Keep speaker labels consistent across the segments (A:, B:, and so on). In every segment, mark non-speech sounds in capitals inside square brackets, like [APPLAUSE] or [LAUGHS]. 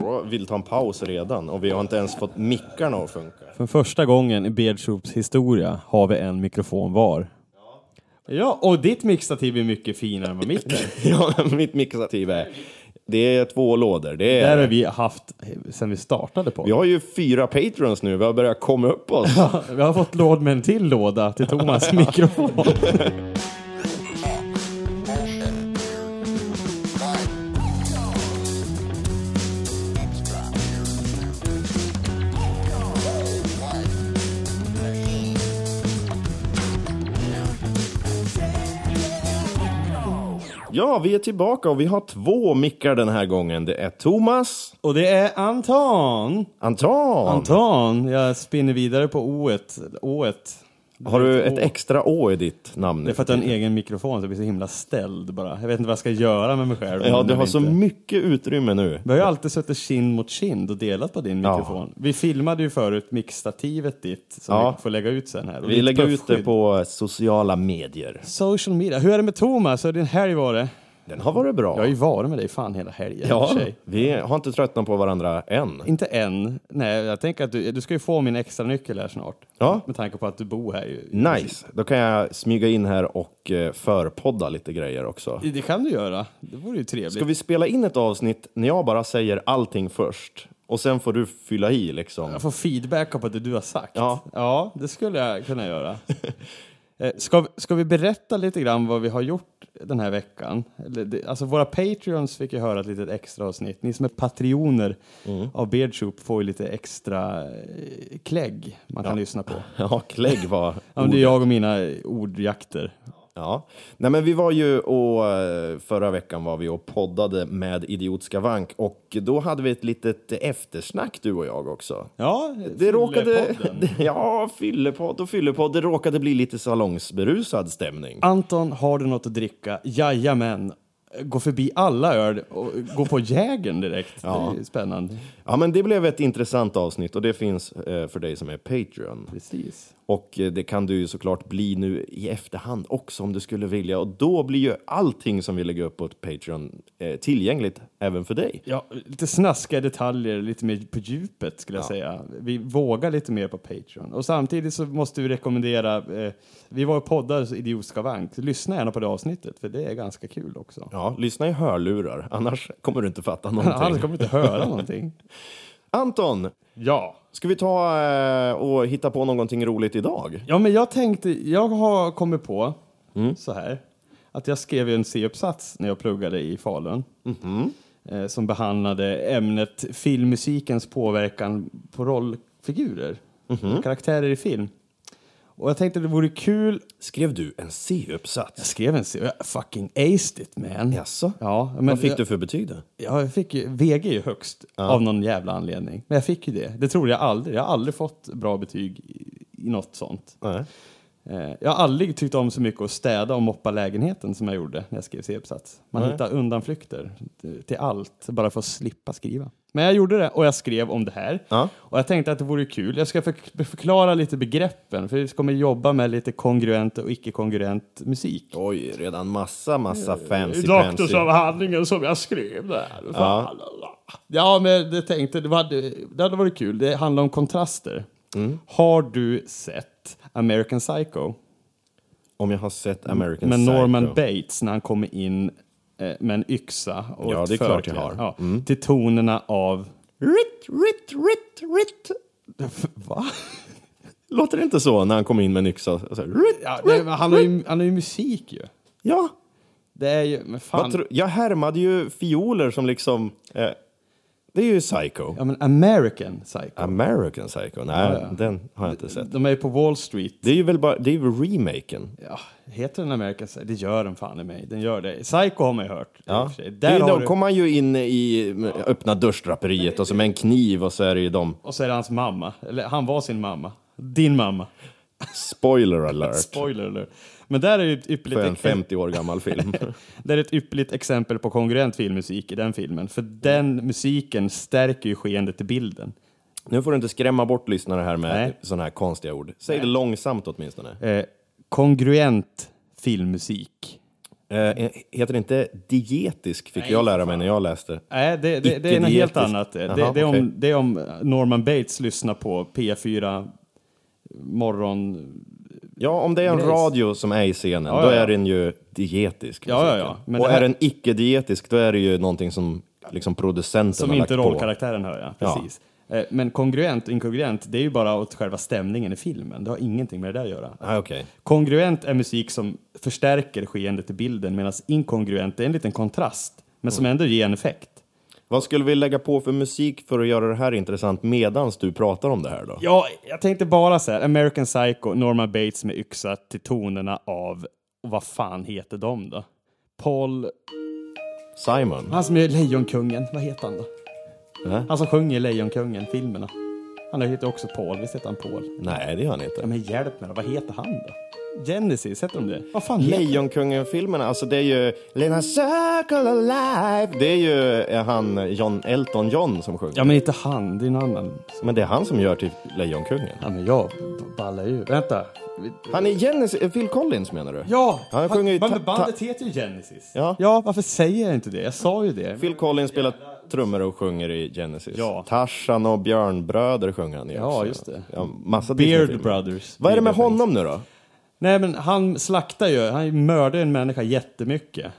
A: Jag vill ta en paus redan och vi har inte ens fått mickarna att
B: [LAUGHS]
A: funka.
B: För första gången i Beardshops historia har vi en mikrofon var. Ja, och ditt mixtativ är mycket finare än vad mitt är.
A: ja, mitt mixativ är... Det är två lådor. Det
B: Det här
A: är,
B: har vi haft sedan vi startade på.
A: vi har ju fyra patrons nu, vi har börjat komma upp oss.
B: Vi har fått låd med en till låda till [LAUGHS] Thomas mikrofon.
A: Ja, vi är tillbaka och vi har två mickar den här gången. Det är Thomas,
B: Och det är Anton.
A: Anton.
B: Anton, jag spinner vidare på O-et. O-et.
A: har du ett
B: Å.
A: extra Å i ditt namn?
B: Det är för att jag har en egen mikrofon så jag blir så himla ställd bara. Jag vet inte vad jag ska göra med mig själv.
A: Ja, du
B: Jag
A: har
B: vet
A: så
B: inte.
A: mycket utrymme nu.
B: Vi har ju alltid suttit kind mot kind och delat på din
A: Ja.
B: mikrofon. Vi filmade ju förut mixstativet ditt som
A: Ja.
B: vi får lägga ut sen här. Och
A: Vi
B: ditt
A: lägger ut det
B: puffskydd.
A: på sociala medier.
B: Social media. Hur är det med Thomas? Hur har din helg varit?
A: Den har varit
B: Jag har
A: bra.
B: ju varit med dig fan hela helgen. i och
A: Ja,
B: för sig.
A: vi har inte tröttnat på varandra än.
B: Inte än. Nej, jag tänker att du, du ska ju få min extra nyckel här snart.
A: Ja.
B: Med tanke på att du bor här ju.
A: Nice, då kan jag smyga in här och eh, förpodda lite grejer också.
B: Det kan du göra. Det vore ju trevligt.
A: Ska vi spela in ett avsnitt när jag bara säger allting först och sen får du fylla i liksom?
B: Jag får feedback på det du har sagt.
A: Ja.
B: det skulle jag kunna göra. [LAUGHS] Eh, Ska, vi- ska vi berätta lite grann vad vi har gjort den här veckan? Eller det- Alltså våra Patreons fick ju höra ett litet extra avsnitt. Ni som är patrioner
A: Mm.
B: av Beardshoop får ju lite extra eh, klägg man kan lyssna på.
A: [LAUGHS] Ja, klägg var
B: Ja, men det är jag och mina eh, ordjakter.
A: Ja. Nej, men vi var ju och eh, förra veckan var vi och poddade med Idiotiska Vank och då hade vi ett litet eftersnack du och jag också.
B: Ja,
A: Det råkade...
B: fyllepodden.
A: [LAUGHS] Ja, fyllepodd och fyllepodd. Det råkade bli lite salongsberusad stämning.
B: Anton, har du något att dricka? Jajamän. Gå förbi alla öl och gå på jägen direkt. Det är ju spännande.
A: Ja, men det blev ett intressant avsnitt och det finns eh, för dig som är Patreon.
B: Precis.
A: Och eh, det kan du ju såklart bli nu i efterhand också om du skulle vilja. Och då blir ju allting som vi lägger upp på Patreon eh, tillgängligt även för dig.
B: Ja, lite snaskiga detaljer, lite mer på djupet skulle jag
A: Ja.
B: säga. Vi vågar lite mer på Patreon. Och samtidigt så måste vi rekommendera, eh, vi var ju poddar så Idiotiska vank, så lyssna gärna på det avsnittet för det är ganska kul också.
A: Ja, lyssna i hörlurar, annars kommer du inte [LAUGHS] fatta
B: Annars
A: någonting.
B: kommer du inte
A: [LAUGHS]
B: höra någonting.
A: Anton,
B: Ja.
A: ska vi ta eh, och hitta på någonting roligt idag?
B: Ja, men jag tänkte, jag har kommit på
A: Mm.
B: så här att jag skrev ju en C-uppsats när jag pluggade i Falun
A: Mm-hmm.
B: eh, som behandlade ämnet filmmusikens påverkan på rollfigurer,
A: Mm-hmm.
B: karaktärer i film. Och jag tänkte det vore kul.
A: Skrev du en C-uppsats?
B: Jag skrev en C och jag fucking aced it man.
A: Jaså?
B: Ja, men
A: Vad fick
B: jag,
A: du för betyg då?
B: Ja, jag fick ju, VG är ju högst av någon jävla anledning. Men jag fick ju det. Det tror jag aldrig. Jag har aldrig fått bra betyg i, i något sånt.
A: Nej.
B: Eh, Jag har aldrig tyckt om så mycket att städa och moppa lägenheten som jag gjorde när jag skrev C-uppsats. Man hittar undanflykter till- till allt, bara för att slippa skriva. Men jag gjorde det och jag skrev om det här.
A: Ja.
B: Och jag tänkte att det vore kul. Jag ska förk- förklara lite begreppen, för vi kommer jobba med lite kongruent och icke-kongruent musik.
A: Oj, redan massa, massa fancy fancy.
B: Doktorsavhandlingen som jag skrev där. Ja. ja, men det tänkte, det hade, det hade varit kul. Det handlar om kontraster.
A: Mm.
B: Har du sett American Psycho?
A: Om jag har sett American
B: med
A: Psycho.
B: Norman Bates när han kommer in eh, med en yxa och
A: Ja,
B: ett
A: det är klart jag Mm.
B: förkläde.
A: har.
B: Ja, Till tonerna
A: [LAUGHS]
B: av...
A: Ritt, ritt, ritt, ritt.
B: Va?
A: Låter det inte så när han kom in med en yxa? Alltså, Och så här, ritt,
B: Ja,
A: ritt.
B: det, han, har ju, han har ju musik ju.
A: Ja,
B: Det är ju... Men
A: vad
B: fan.
A: tro- jag härmade ju fioler som liksom... Eh, det är ju Psycho.
B: Ja, men American Psycho.
A: American Psycho? Nej, den har jag inte sett.
B: De är ju på Wall Street.
A: Det är ju väl bara... Det är ju remaken.
B: Ja, heter den American Psycho? Det gör den fan i mig. Den gör det. Psycho har man ju hört. i och
A: Ja.
B: för sig.
A: det är
B: Där
A: ju,
B: har
A: då
B: du,
A: kommer han ju in i med öppna duschdraperiet och så med en kniv och så är det ju de...
B: Och så är det hans mamma. Eller han var sin mamma. Din mamma.
A: Spoiler alert!
B: Spoiler alert. Men där är ju ett ypperligt
A: För en
B: exempel.
A: 50 år gammal
B: [LAUGHS]
A: film.
B: Det är ett ypperligt exempel på kongruent filmmusik i den filmen, för den musiken stärker ju skeendet i bilden.
A: nu får du inte skrämma bort lyssnare här med
B: Nej.
A: sådana här konstiga ord. Säg det långsamt åtminstone.
B: Eh, kongruent Eh, filmmusik.
A: Eh, heter det inte dietisk, fick jag lära mig när jag läste.
B: Nej, det, det, det är något
A: Icke-dietisk.
B: helt annat. Det, det,
A: Jaha,
B: det, är
A: okej.
B: om, det är om Norman Bates lyssnar på P4 morgon...
A: Ja, om det är en
B: Grejs.
A: radio som är i scenen,
B: Ja,
A: då
B: ja, ja.
A: är den ju dietisk.
B: Ja, ja,
A: musiken.
B: ja. Men
A: Och
B: det här-
A: är den icke-dietisk, då är det ju någonting som liksom producenten
B: Som
A: har
B: inte
A: lagt på.
B: rollkaraktären hör jag.
A: Ja.
B: Precis. Eh, Men kongruent och inkongruent, det är ju bara åt själva stämningen i filmen. Det har ingenting med det där att göra.
A: Ah, okej.
B: Kongruent är musik som förstärker skeendet i bilden medan inkongruent är en liten kontrast, men som ändå ger en effekt.
A: Vad skulle vi lägga på för musik för att göra det här intressant medans du pratar om det här då?
B: Ja, jag tänkte bara så här, American Psycho, Norman Bates med yxa till tonerna av, och vad fan heter de då? Paul,
A: Simon?
B: han som är Lejonkungen, vad heter han då?
A: Äh?
B: Han som sjunger Lejonkungen-filmerna. Han heter också Paul, visst heter han Paul?
A: Nej, det gör han
B: Ja,
A: inte.
B: men hjälp mig då, vad heter han då? Genesis, heter de det? Vad fan heter
A: Lejonkungen-filmerna, alltså det är ju Lena Circle Alive. Det är ju eh, han John Elton John som sjunger.
B: Ja, men inte han, det är en annan.
A: Men det är han som gör till Lejonkungen.
B: Ja, men jag ballar ju. Vänta.
A: Han är Genesis, eh, Phil Collins menar du?
B: Ja!
A: Han sjunger ju
B: men
A: ta- ta-
B: bandet heter ju Genesis.
A: Ja.
B: ja, varför säger jag inte det? Jag sa ju det.
A: Phil Collins spelar trummor och sjunger i Genesis.
B: Ja.
A: Tarzan och Björnbröder sjunger han i
B: Ja,
A: också.
B: just det.
A: Ja, massa
B: Beard
A: Disney-filmer.
B: Brothers.
A: Vad är det med honom nu då?
B: Nej, men han slaktar ju, han mördar ju en människa jättemycket.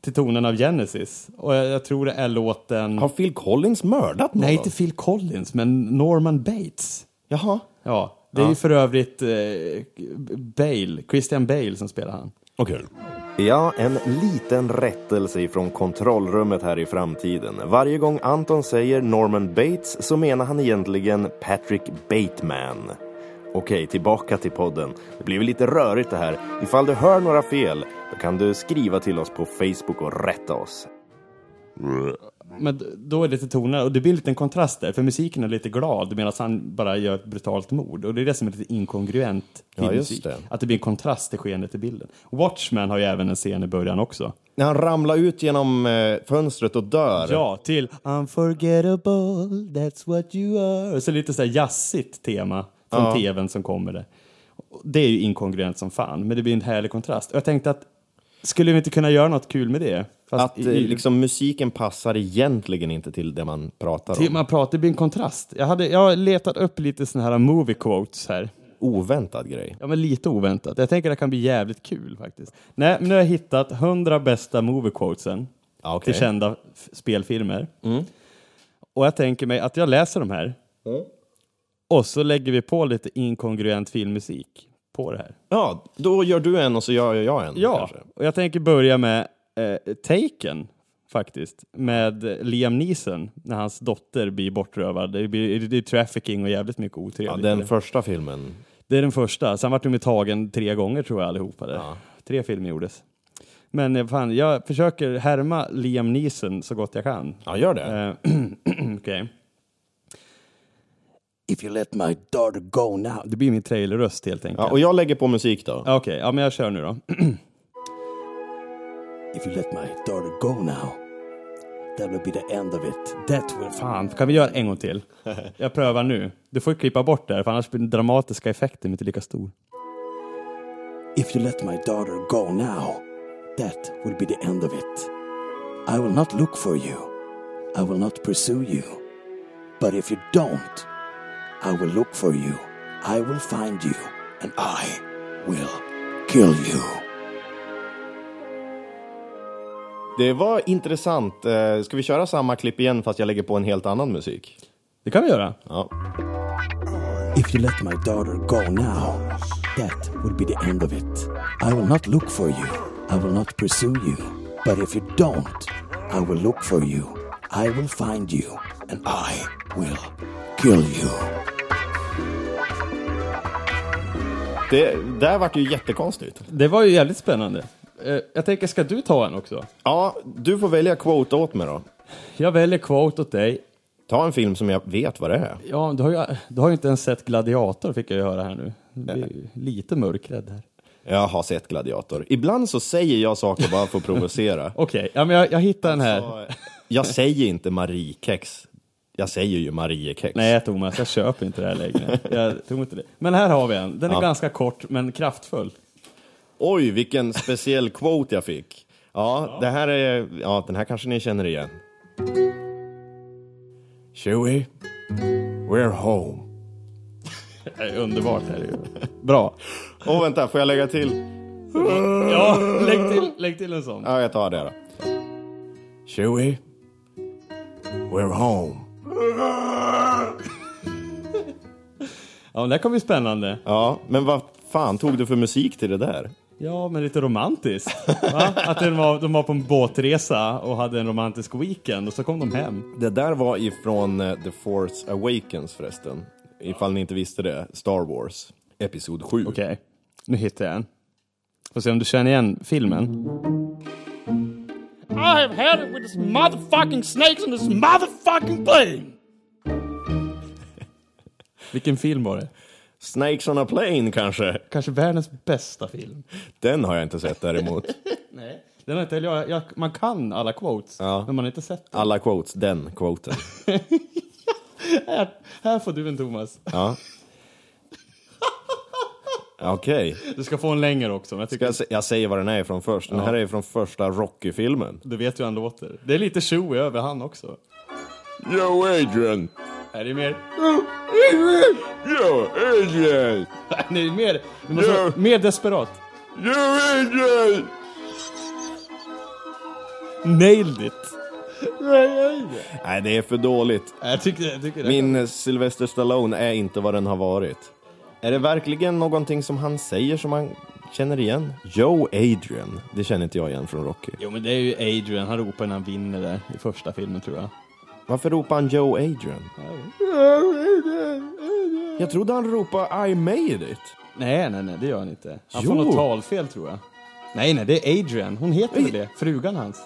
B: Till tonen av Genesis. Och jag, jag tror det är låten...
A: Har Phil Collins mördat någon?
B: Nej, inte Phil Collins, men Norman Bates.
A: Jaha.
B: Ja, det är ju för övrigt eh, Bale, Christian Bale som spelar han.
A: Okej. Ja, en liten rättelse ifrån kontrollrummet här i framtiden. Varje gång Anton säger Norman Bates så menar han egentligen Patrick Bateman. Okej, tillbaka till podden. Det blev lite rörigt det här. Ifall du hör några fel, då kan du skriva till oss på Facebook och rätta oss.
B: Men d- då är det lite toner, och det blir en liten kontrast där, för musiken är lite glad medan han bara gör ett brutalt mord. Och det är det som är lite inkongruent till
A: Ja, just
B: musik.
A: det.
B: Att det blir en kontrast till skeendet i bilden. Watchmen har ju även en scen i början också.
A: När han ramlar ut genom eh, fönstret och dör.
B: Ja, till Unforgettable, that's what you are. Så lite sådär jazzigt tema från tvn som kommer där. Det är ju inkongruent som fan, men det blir en härlig kontrast. Och jag tänkte att, skulle vi inte kunna göra något kul med det? Fast
A: Att eh,
B: i- i-
A: liksom, musiken passar egentligen inte till det man pratar
B: till-
A: om.
B: man pratar, det blir en kontrast. Jag, hade, jag har letat upp lite sådana här movie quotes här.
A: Oväntad grej.
B: Ja, men lite oväntat. Jag tänker att det kan bli jävligt kul faktiskt. Nej, men nu har jag hittat 100 bästa movie quotesen.
A: Ja, okej. Mm.
B: till kända f- spelfilmer. Och jag tänker mig att jag läser de här
A: Mm.
B: och så lägger vi på lite inkongruent filmmusik på det här.
A: Ja, då gör du en och så gör jag en.
B: Ja,
A: kanske.
B: och jag tänker börja med eh, Taken faktiskt, med eh, Liam Neeson när hans dotter blir bortrövad. Det blir, det är trafficking och jävligt mycket
A: Ja,
B: otrevligt.
A: den första filmen.
B: Det är den första. Sen vart de ju tagen tre gånger tror jag allihopa. Där.
A: Ja.
B: Tre filmer gjordes. Men eh, fan, jag försöker härma Liam Neeson så gott jag kan.
A: Ja, gör det.
B: [CLEARS THROAT] Uh, okay. If you let my daughter go now. Det blir min trailerröst helt enkelt.
A: Ja, och jag lägger på musik då.
B: Okej, ja men jag kör nu då. [CLEARS THROAT] If you let my daughter go now. That will be the end of it. That will... Fan, kan vi göra en
A: [LAUGHS]
B: gång till? Jag prövar nu. Du får ju klippa bort det här, för annars blir den dramatiska effekten inte lika stor.
C: If you let my daughter go now, that will be the end of it. I will not look for you. I will not pursue you. But if you don't, I will look for you. I will find you. And I will kill you.
A: Det var intressant. Eh, Ska vi köra samma klipp igen fast jag lägger på en helt annan musik?
B: Det kan vi göra.
A: Ja.
C: If you let my daughter go now, that would be the end of it. I will not look for you. I will not pursue you. But if you don't, I will look for you. I will find you. And I will kill you.
A: Det där vart ju jättekonstigt.
B: Det var ju jävligt spännande. Eh, jag tänker, ska du ta en också?
A: Ja, du får välja quote åt mig då.
B: Jag väljer quote åt dig.
A: Ta en film som jag vet vad det är.
B: Ja, du har ju, du har ju inte ens sett Gladiator fick jag ju höra här nu. Du blir ju lite mörkrädd här.
A: Jag har sett Gladiator. Ibland så säger jag saker bara för att provocera.
B: [LAUGHS] Okej, ja, men jag, jag hittar den här.
A: Så, eh, Jag säger inte Mariekex. Jag säger ju Mariekex.
B: Nej Thomas, jag köper inte det här längre. Jag tror inte det. Men här har vi en. Den är ganska kort men kraftfull.
A: Oj, vilken speciell [LAUGHS] quote jag fick. Ja, det här är... Ja, den här kanske ni känner igen. Chewie, we're home.
B: Det är underbart här ju. Bra.
A: Åh, vänta, får jag lägga till?
B: Ja, lägg till, lägg till en sån.
A: Ja, jag tar det då. Chewie, we're home.
B: Ja, men det här kommer bli spännande.
A: Ja, men vad fan tog du för musik till det där?
B: Ja, men lite romantiskt. Va? Att den var, de var på en båtresa och hade en romantisk weekend och så kom de hem.
A: Det där var ifrån eh, The Force Awakens förresten. Ifall ni inte visste det. Star Wars, Episod 7.
B: Okej, nu hittar jag en. Får se om du känner igen filmen.
D: I have had it with this motherfucking snakes on this motherfucking plane.
B: [LAUGHS] Vilken film var det?
A: Snakes on a plane kanske?
B: Kanske världens bästa film.
A: Den har jag inte sett däremot.
B: Nej. Den har inte, eller jag, jag, man kan alla quotes, men man har inte sett den.
A: Alla quotes, den quoten.
B: Här, här får du en Thomas.
A: [LAUGHS] Ja. Okej,
B: Du ska få en längre också, men jag tycker
A: jag, sä- jag säger vad den är ifrån först. Den här är från första Rocky-filmen.
B: du vet hur han låter. Det är lite Chewie över han också.
A: Yo Adrian!
B: Här är mer... [LAUGHS]
A: Yo Adrian!
B: Nej, mer, du måste, vara mer desperat.
A: Yo Adrian!
B: Nailed it!
A: Nej, det är för dåligt.
B: Jag tycker, jag tycker det.
A: Min Sylvester Stallone är inte vad den har varit. Är det verkligen någonting som han säger som man känner igen? Yo Adrian, det känner inte jag igen från Rocky.
B: Jo men det är ju Adrian, han ropar när han vinner där i första filmen tror jag.
A: Varför ropar han Yo Adrian? Jag trodde han ropade I made it.
B: Nej, nej, nej, det gör han inte. Han
A: Jo.
B: får något talfel tror jag. Nej, nej, det är Adrian. Hon heter väl det? Frugan hans.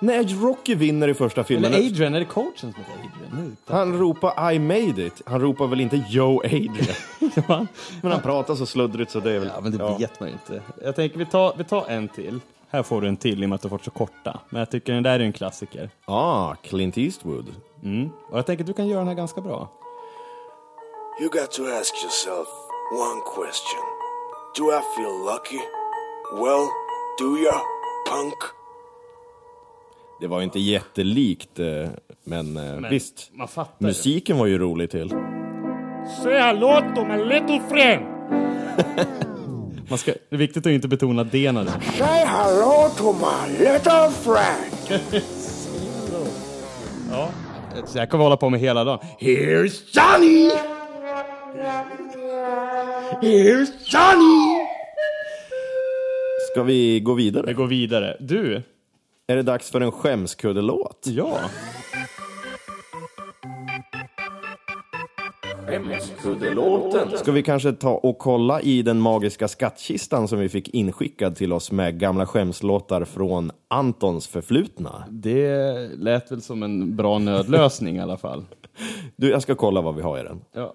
A: Nej, Rocky vinner i första
B: Eller
A: filmen.
B: Adrian, är det coachen som heter Adrian? [LAUGHS] Nu tappar
A: Han ropar I made it. Han ropar väl inte Yo Adrian?
B: jag fan.
A: Men han pratar så sluddrigt så det är väl...
B: Ja, men det vet man ju inte. Jag tänker vi tar, vi tar en till. Här får du en till i och med att du har fått så korta. Men jag tycker den där är en klassiker. Mm.
A: Ah, Clint Eastwood.
B: Och jag tänker att du kan göra den här ganska bra.
E: You got to ask yourself one question Do I feel lucky? Well, do ya, punk?
A: Det var ju inte jättelikt, eh, men, eh, visst.
B: Man fattar ju.
A: Musiken var ju rolig till.
D: Say hello to my little friend.
B: [LAUGHS] Man ska, det är viktigt att inte betona det när det.
E: Say hello to my little friend.
B: [LAUGHS] Så jag kommer hålla på med hela dagen.
E: Here's Johnny! Here's Johnny!
A: Ska vi gå
B: Vi
A: vidare?
B: går vidare. Du,
A: Är det dags för en skämskuddelåt?
B: ja.
A: Ska vi kanske ta och kolla i den magiska skattkistan som vi fick inskickad till oss med gamla skämslåtar från Antons förflutna?
B: Det lät väl som en bra nödlösning i alla fall.
A: Du, jag ska kolla vad vi har i den.
B: Ja.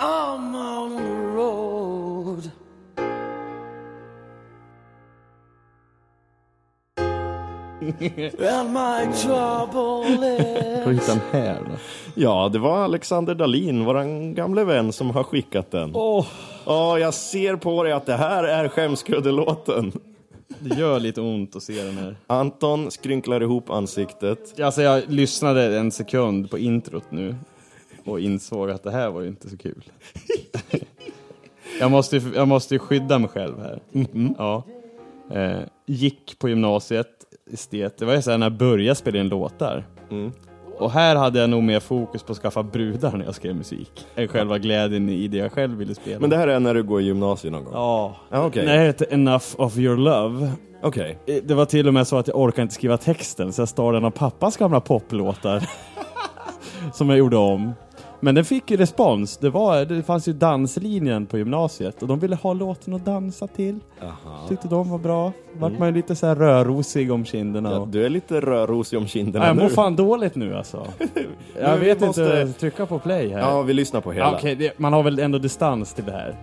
F: I'm out on the road. and my trouble
B: [LAUGHS]
F: is
B: Får hitta en här då.
A: Ja, det var Alexander Dalin, våran gamle vän, som har skickat den. Ja,
B: Åh,
A: jag ser på dig att det här är skämskuddelåten.
B: det gör lite ont att se den här.
A: Anton skrynklar ihop ansiktet.
B: Alltså jag lyssnade en sekund på introt nu och insåg att det här var ju inte
A: [LAUGHS]
B: så kul. jag, måste, ju- jag måste ju skydda mig själv här.
A: Mm-hmm.
B: Ja. Eh, gick på gymnasiet, estet. Det var ju såhär när jag började spela in låtar.
A: Mm.
B: Och här hade jag nog mer fokus på att skaffa brudar när jag skrev musik. Än själva glädjen i det jag själv ville spela.
A: Men det här är när du går i gymnasiet någon gång?
B: Ja.
A: Ja, okej.
B: När jag hette Enough of your love.
A: Okej.
B: Eh, Det var till och med så att jag orkade inte skriva texten så jag stal den av pappas gamla poplåtar. [LAUGHS] som jag gjorde om. Men den fick ju respons. Det, var, det fanns ju danslinjen på gymnasiet och de ville ha låten att dansa till. Tyckte de var bra. Vart man ju lite så här rödrosig om kinderna.
A: Mm. Ja,
B: och-
A: du är lite rörosig om kinderna
B: Nej, jag mår
A: nu.
B: fan dåligt
A: [LAUGHS]
B: nu alltså. jag
A: Men vi
B: vet inte.
A: måste-
B: Trycka på play här.
A: Ja, vi lyssnar på hela.
B: Ja, Okej, det- man har väl ändå distans till det här.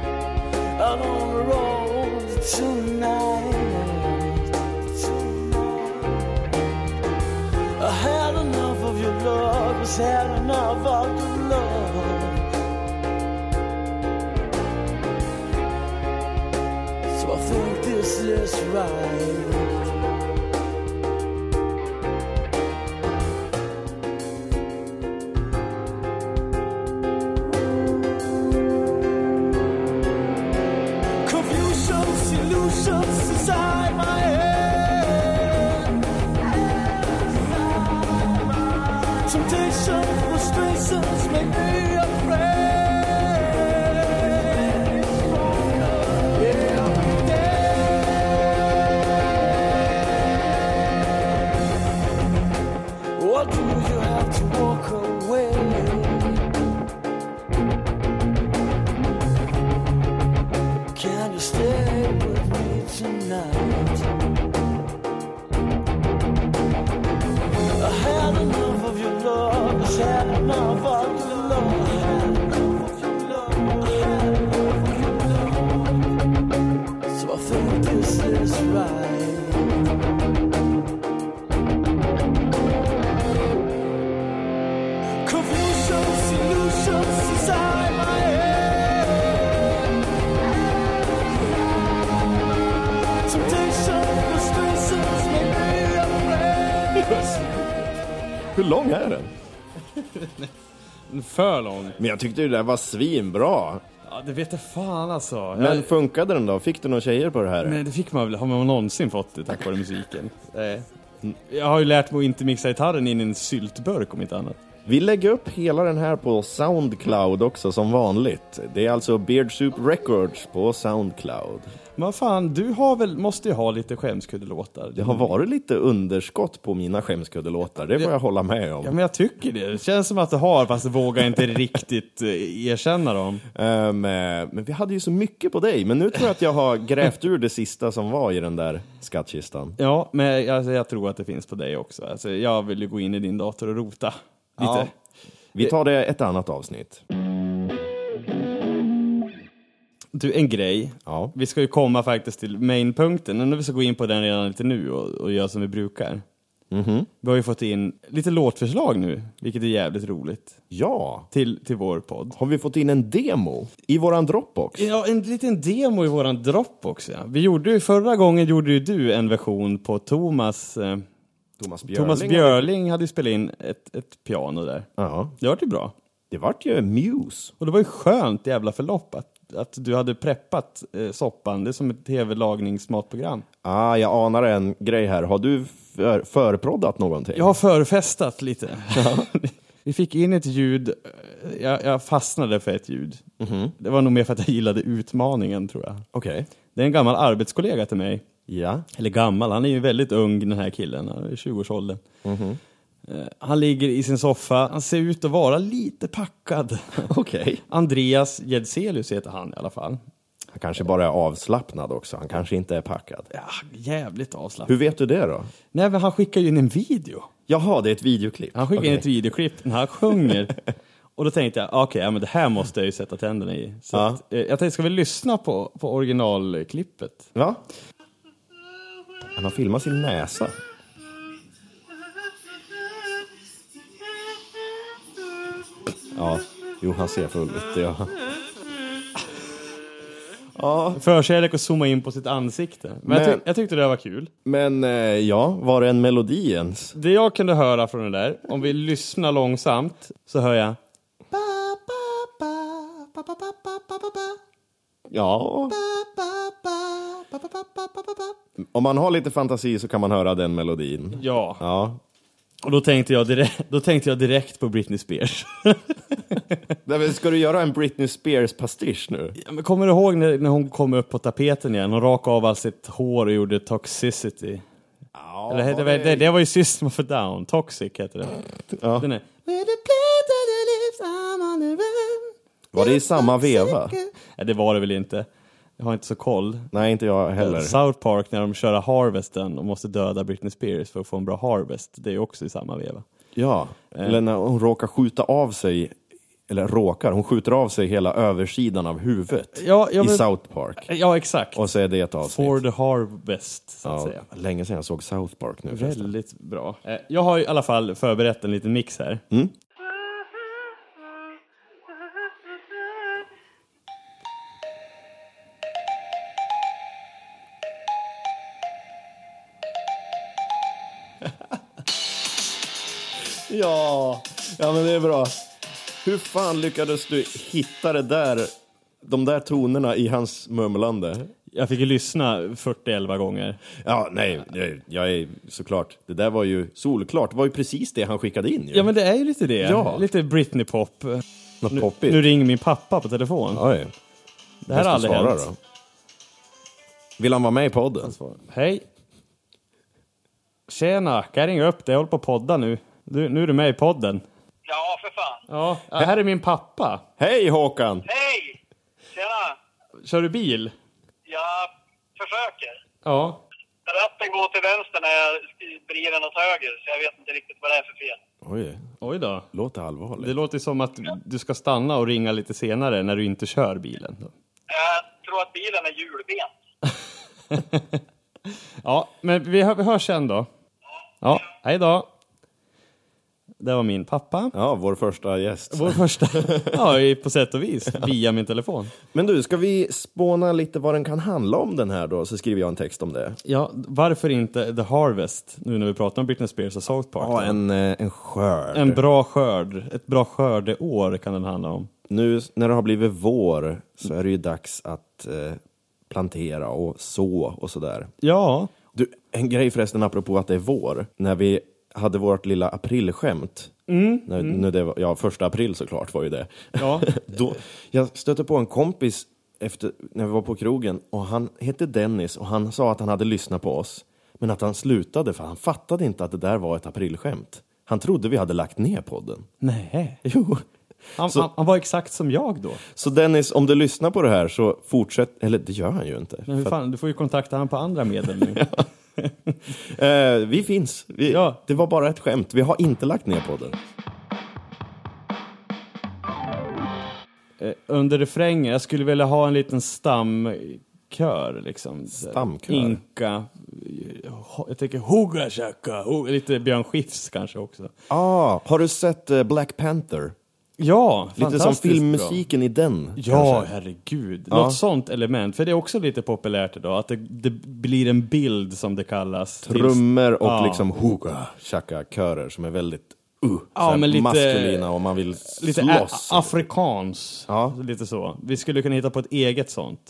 F: out on the road tonight. I had enough of your love. Has had enough of your love. So I is this right? Confusions, illusions inside my head. Temptation, frustrations make me afraid. Yeah, I'm dead. What do you have to walk away? Can you stay with me tonight? I had enough of your love. I had enough of your love. I had enough of your love. I had enough of your love. So I think this is right. Confusions, illusions inside my head. Temptation, frustrations make me afraid.
A: Hur lång är den?
B: För lång.
A: Men jag tyckte det där var svinbra.
B: Ja, det vet jag fan alltså.
A: Men
B: Jag,
A: funkade den då? Fick du några tjejer på det här?
B: nej, det fick man väl. Har man någonsin fått det tack vare musiken? [LAUGHS] Nej. Jag har ju lärt mig att inte mixa gitarren in i en syltburk om inte annat.
A: Vi lägger upp hela den här på Soundcloud också som vanligt. Det är alltså Beard Soup Records på Soundcloud.
B: Men vad fan, du har väl, måste ju ha lite skämskuddelåtar.
A: Det har varit lite underskott på mina skämskuddelåtar, det får jag hålla med om.
B: Ja, men jag tycker det. Det känns som att det har, fast vågar inte riktigt eh, erkänna dem.
A: Ehm, eh, men vi hade ju så mycket på dig, men nu tror jag att jag har grävt ur det sista som var i den där skattkistan.
B: Ja, men jag, alltså, jag tror att det finns på dig också. Alltså, jag vill ju gå in i din dator och rota lite.
A: Ja. Vi tar det ett annat avsnitt.
B: Du, en grej.
A: Ja.
B: Vi ska ju komma faktiskt till mainpunkten, men vi ska gå in på den redan lite nu och, och göra som vi brukar. Vi har ju fått in lite låtförslag nu, vilket är jävligt roligt,
A: ja,
B: till, till vår podd.
A: har vi fått in en demo i våran Dropbox?
B: Ja, en liten demo i våran Dropbox. Ja. Vi gjorde ju, förra gången gjorde ju du en version på Thomas eh,
A: Thomas Björling.
B: Thomas Björling hade ju spelat in ett, ett piano där.
A: Ja,
B: Det var ju bra.
A: det vart ju Muse.
B: Och det var ju skönt jävla förlopp att, att du hade preppat eh, soppan. Det är som ett tv-lagningsmatprogram.
A: Ah, jag anar en grej här. Har du för, förproddat någonting?
B: Jag har förfestat lite. [LAUGHS] Vi fick in ett ljud, eh, jag, jag fastnade för ett ljud. Det var nog mer för att jag gillade utmaningen tror jag.
A: Okej.
B: Det är en gammal arbetskollega till mig.
A: Ja.
B: Eller gammal, han är ju väldigt ung den här killen, han är i 20-årsåldern. Eh, Han ligger i sin soffa, han ser ut att vara lite packad.
A: Okej.
B: Andreas Jedselius heter han i alla fall.
A: Han kanske bara är avslappnad också. Han kanske inte är packad.
B: Ja, jävligt avslappnad.
A: Hur vet du det då?
B: Nej, men han skickar ju in en video.
A: Jaha, det är ett videoklipp.
B: Han skickar in
A: Okej.
B: ett videoklipp när han sjunger. Och då tänkte jag, okej, ja, men det här måste jag ju sätta tänderna i. Så
A: Ja.
B: att, eh, jag tänkte, ska vi lyssna på, på originalklippet?
A: Va? Han har filmat sin näsa. Ja, jo, han ser full ut. Ja.
B: Förkärlek att zooma in på sitt ansikte. Men, Jag,
A: Men-
B: tyck- jag tyckte det här var kul.
A: Men eh, ja, var det en melodi ens?
B: Det jag kunde höra från den där, om vi lyssnar långsamt, så hör jag...
A: Ja. Om man har lite fantasi så kan man höra den melodin.
B: Ja,
A: Ja.
B: och då tänkte jag direkt, [LAUGHS] då tänkte jag direkt på Britney Spears.
A: Nej, men Ska du göra en Britney Spears-pastisch nu?
B: Ja, men kommer du ihåg när, när hon kom upp på tapeten igen? Hon rakade av allt sitt hår och gjorde Toxicity.
A: Ja,
B: Eller, det, var- det, det var ju System of a Down, Toxic heter den.
A: Ja.
B: Den är... With the blood of the lips, I'm on the run.
A: Var det i samma veva?
B: Nej, det var det väl inte. Jag har inte så koll.
A: Nej, inte jag heller.
B: South Park när de kör Harvesten och måste döda Britney Spears för att få en bra Harvest, det är ju också i samma veva.
A: Ja, eller när hon råkar skjuta av sig, eller råkar, hon skjuter av sig hela översidan av huvudet
B: Ja, jag
A: i
B: vet-
A: South Park.
B: Eh, Ja, exakt.
A: Och så är det ett avsnitt.
B: For the Harvest, så att
A: ja,
B: säga.
A: länge sedan jag såg South Park nu förresten.
B: Väldigt bra. Eh, Jag har i alla fall förberett en liten mix här.
A: Ja, ja men det är bra. Hur fan lyckades du hitta det där, de där tonerna i hans mumlande?
B: Jag fick ju lyssna 40-11 gånger.
A: Ja, nej, nej, jag är såklart. Det där var ju solklart. Det var ju precis det han skickade in ju.
B: Ja, men det är ju lite det.
A: Ja.
B: Lite Britney-pop.
A: Något
B: Nu,
A: poppigt.
B: nu ringer min pappa på telefon.
A: Oj.
B: det här har aldrig hänt.
A: Vill han vara med i podden?
B: Hej. Tjena, kan jag ringa upp dig? Jag håller på att podda nu. Du, nu är du med i podden.
G: Ja, för fan.
B: Ja, äh. här är min pappa.
A: Hej Håkan!
G: Hej! Tjena!
B: Kör du bil?
G: Jag försöker.
B: Ja.
G: Ratten går till vänster när jag vrider den åt höger, så jag vet inte riktigt vad det är för fel.
A: Oj,
B: Oj då.
A: låter allvarligt.
B: Det låter som att du ska stanna och ringa lite senare när du inte kör bilen.
G: Jag tror att bilen är hjulbent.
B: Ja, men vi, hör, vi hörs sen då. Ja, hej då. Det var min pappa.
A: Ja, vår första gäst.
B: Vår första. [LAUGHS] Ja, i- på sätt och vis. Via min telefon.
A: Men du, ska vi spåna lite vad den kan handla om den här då? Så skriver jag en text om det.
B: Ja, varför inte The Harvest? Nu när vi pratar om Britney Spears och South Park.
A: Ja, en, eh, en skörd.
B: En bra skörd. Ett bra skördeår kan den handla om.
A: Nu när det har blivit vår så är det ju dags att eh, plantera och så och sådär.
B: Ja,
A: Du, en grej förresten apropå att det är vår. När vi hade vårt lilla aprilskämt. när, när det var, ja, första april såklart var ju det.
B: Mm, Ja.
A: [LAUGHS] Då, jag stötte på en kompis efter, när vi var på krogen och han hette Dennis och han sa att han hade lyssnat på oss. Men att han slutade för han fattade inte att det där var ett aprilskämt. Han trodde vi hade lagt ner
B: [LAUGHS]
A: podden.
B: nej.
A: Jo.
B: Han,
A: Så-
B: han, han var exakt som jag då.
A: Så Dennis, om du lyssnar på det här så fortsätt, eller det gör han ju inte.
B: Men hur
A: För att,
B: fan, du får ju kontakta han på andra medel
A: [LAUGHS]
B: nu.
A: eh, vi finns. Vi,
B: Ja.
A: Det var bara ett skämt. Vi har inte lagt ner podden.
B: Eh, Under refrängen, jag skulle vilja ha en liten stamkör liksom.
A: Stamkör?
B: Inka. eh, ho- Jag tänker Hoga Shaka. ho- Lite Björn Skifs kanske också.
A: Ah, har du sett eh, Black Panther?
B: Ja,
A: Lite som
B: fantastiskt bra.
A: filmmusiken i den.
B: Ja,
A: kanske.
B: herregud. Något sånt element. För det är också lite populärt idag, att det, det blir en bild som det kallas. till-
A: Trummor och
B: Ja.
A: liksom hoga chaka körer som är väldigt uh,
B: Ja,
A: såhär
B: men lite-
A: maskulina och man vill
B: Lite a-
A: slåss.
B: afrikans.
A: Ja.
B: Lite så. Vi skulle kunna hitta på ett eget sånt.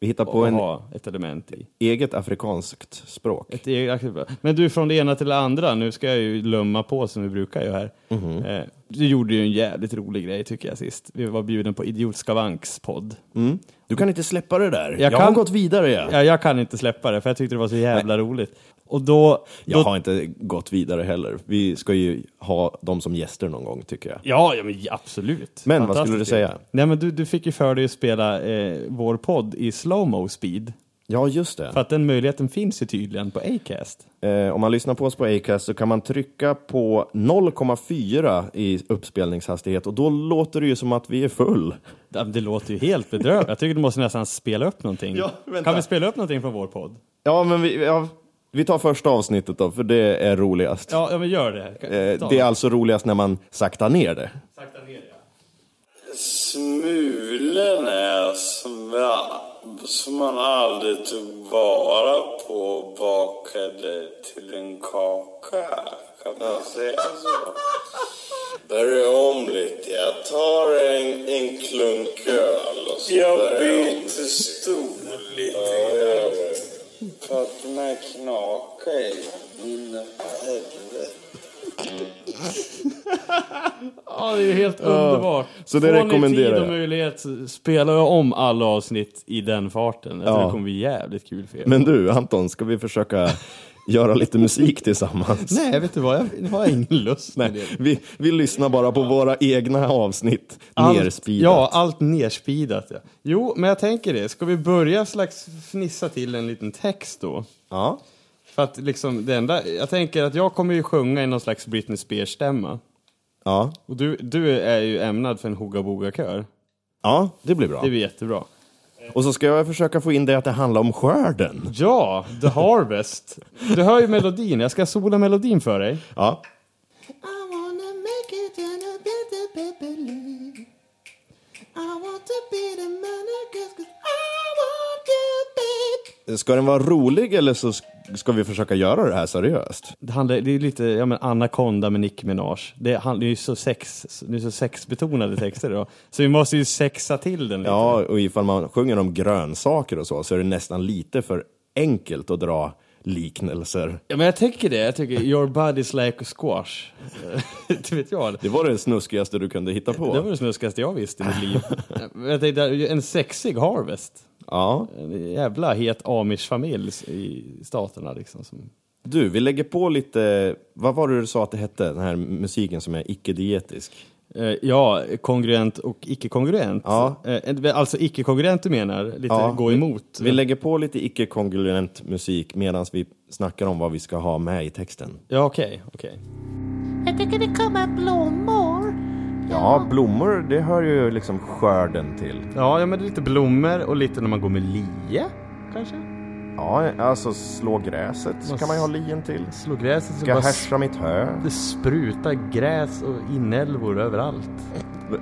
A: Vi hittar på
B: Och
A: en
B: ha ett element i.
A: eget afrikanskt språk.
B: Ett eget, men du, från det ena till det andra. Nu ska jag ju lumma på som vi brukar göra här.
A: Mhm.
B: Eh, du gjorde ju en jävligt rolig grej tycker jag sist. Vi var bjuden på Idiotskavanks podd.
A: Mm. Du kan inte släppa det där. Jag,
B: Jag
A: har
B: kan-
A: gått vidare jag.
B: Ja, jag kan inte släppa det för jag tyckte det var så jävla roligt. Och då...
A: Jag
B: då
A: har inte gått vidare heller. Vi ska ju ha dem som gäster någon gång tycker jag.
B: Ja, ja men absolut.
A: Men vad
B: Fantastiskt.
A: skulle du säga?
B: Nej, men du, du fick ju för dig att spela eh, vår podd i slowmo speed.
A: Ja, just det.
B: För att den möjligheten finns ju tydligen på Acast.
A: Eh, om man lyssnar på oss på Acast så kan man trycka på 0,4 i uppspelningshastighet och då låter det ju som att vi är full.
B: Ja, Det låter ju helt bedrövligt. Jag tycker du måste nästan spela upp
A: [LAUGHS]
B: någonting.
A: Ja, vänta.
B: kan vi spela upp någonting från vår podd?
A: Ja, men vi, ja, vi tar första avsnittet då, för det är roligast.
B: Ja, ja men gör det. Kan-
A: Eh,
B: ta
A: det är alltså roligast när man saktar ner det.
B: Sakta ner, ja.
H: Smulen är svamp som man aldrig tog vara på och bakade till en kaka. Kan man säga så? Bär om lite. Jag tar en, en klunk öl och så Jag byter stol lite. Ja, jag vet. För att den här knakar i mina helvete.
B: Ja, det är ju helt underbart.
A: så det
B: Får
A: rekommenderar
B: ni tid
A: jag.
B: och möjlighet så spelar jag om alla avsnitt i den farten. Jag tror
A: Ja.
B: det kommer bli jävligt kul för er.
A: Men du, Anton, ska vi försöka göra lite musik tillsammans?
B: Nej, vet du vad? Jag har
A: [LAUGHS]
B: ingen lust med det.
A: Nej, vi, vi lyssnar bara på våra egna avsnitt, nerspeedat.
B: Ja, allt nerspeedat. Ja. Jo, men jag tänker det. Ska vi börja slags fnissa till en liten text då?
A: Ja.
B: För att liksom det enda, jag tänker att jag kommer ju sjunga i någon slags Britney Spears-stämma.
A: Ja.
B: Och du, du är ju ämnad för en Hooga Booga-kör.
A: ja, det blir bra.
B: Det blir jättebra.
A: Och så ska jag försöka få in det att det handlar om skörden.
B: Ja, The Harvest. Du hör ju melodin, jag ska sola melodin för dig.
A: Ja.
I: I wanna make it in a better paper league. I want to be the man I guess, 'cause I want you, babe.
A: Ska den vara rolig eller så ska vi försöka göra det här seriöst?
B: Det, handlar, det är lite ja, men Anaconda med Nicki Minaj. Det, han, det är ju så, sex, det är så sexbetonade texter då. Så vi måste ju sexa till den lite.
A: Ja, och ifall man sjunger om grönsaker och så, så är det nästan lite för enkelt att dra liknelser.
B: Ja, men jag tycker det. Jag tycker your body's like a squash. [LAUGHS] det vet jag.
A: Det var det snuskigaste du kunde hitta
B: Det var
A: på.
B: det snuskigaste jag visste i mitt liv. Men jag tänkte, en sexig harvest.
A: Ja.
B: En jävla het amish-familj i staterna liksom. Som...
A: Du, vi lägger på lite, vad var det du sa att det hette, den här musiken som är icke-dietisk?
B: Eh, Ja, kongruent och icke-kongruent.
A: Ja.
B: Eh, Alltså icke-kongruent du menar, lite
A: Ja.
B: gå emot.
A: Vi lägger på lite icke-kongruent musik medan vi snackar om vad vi ska ha med i texten.
B: Ja, okej. okej.
I: Jag tycker det kommer blommor.
A: Ja, blommor, det hör ju liksom skörden till.
B: Ja, ja, men det är lite blommor och lite när man går med lie, kanske?
A: Ja, alltså slå gräset så kan man ju ha lien till.
B: Slå gräset så
A: Ska
B: bara
A: härsa mitt hö.
B: det sprutar gräs och inälvor överallt.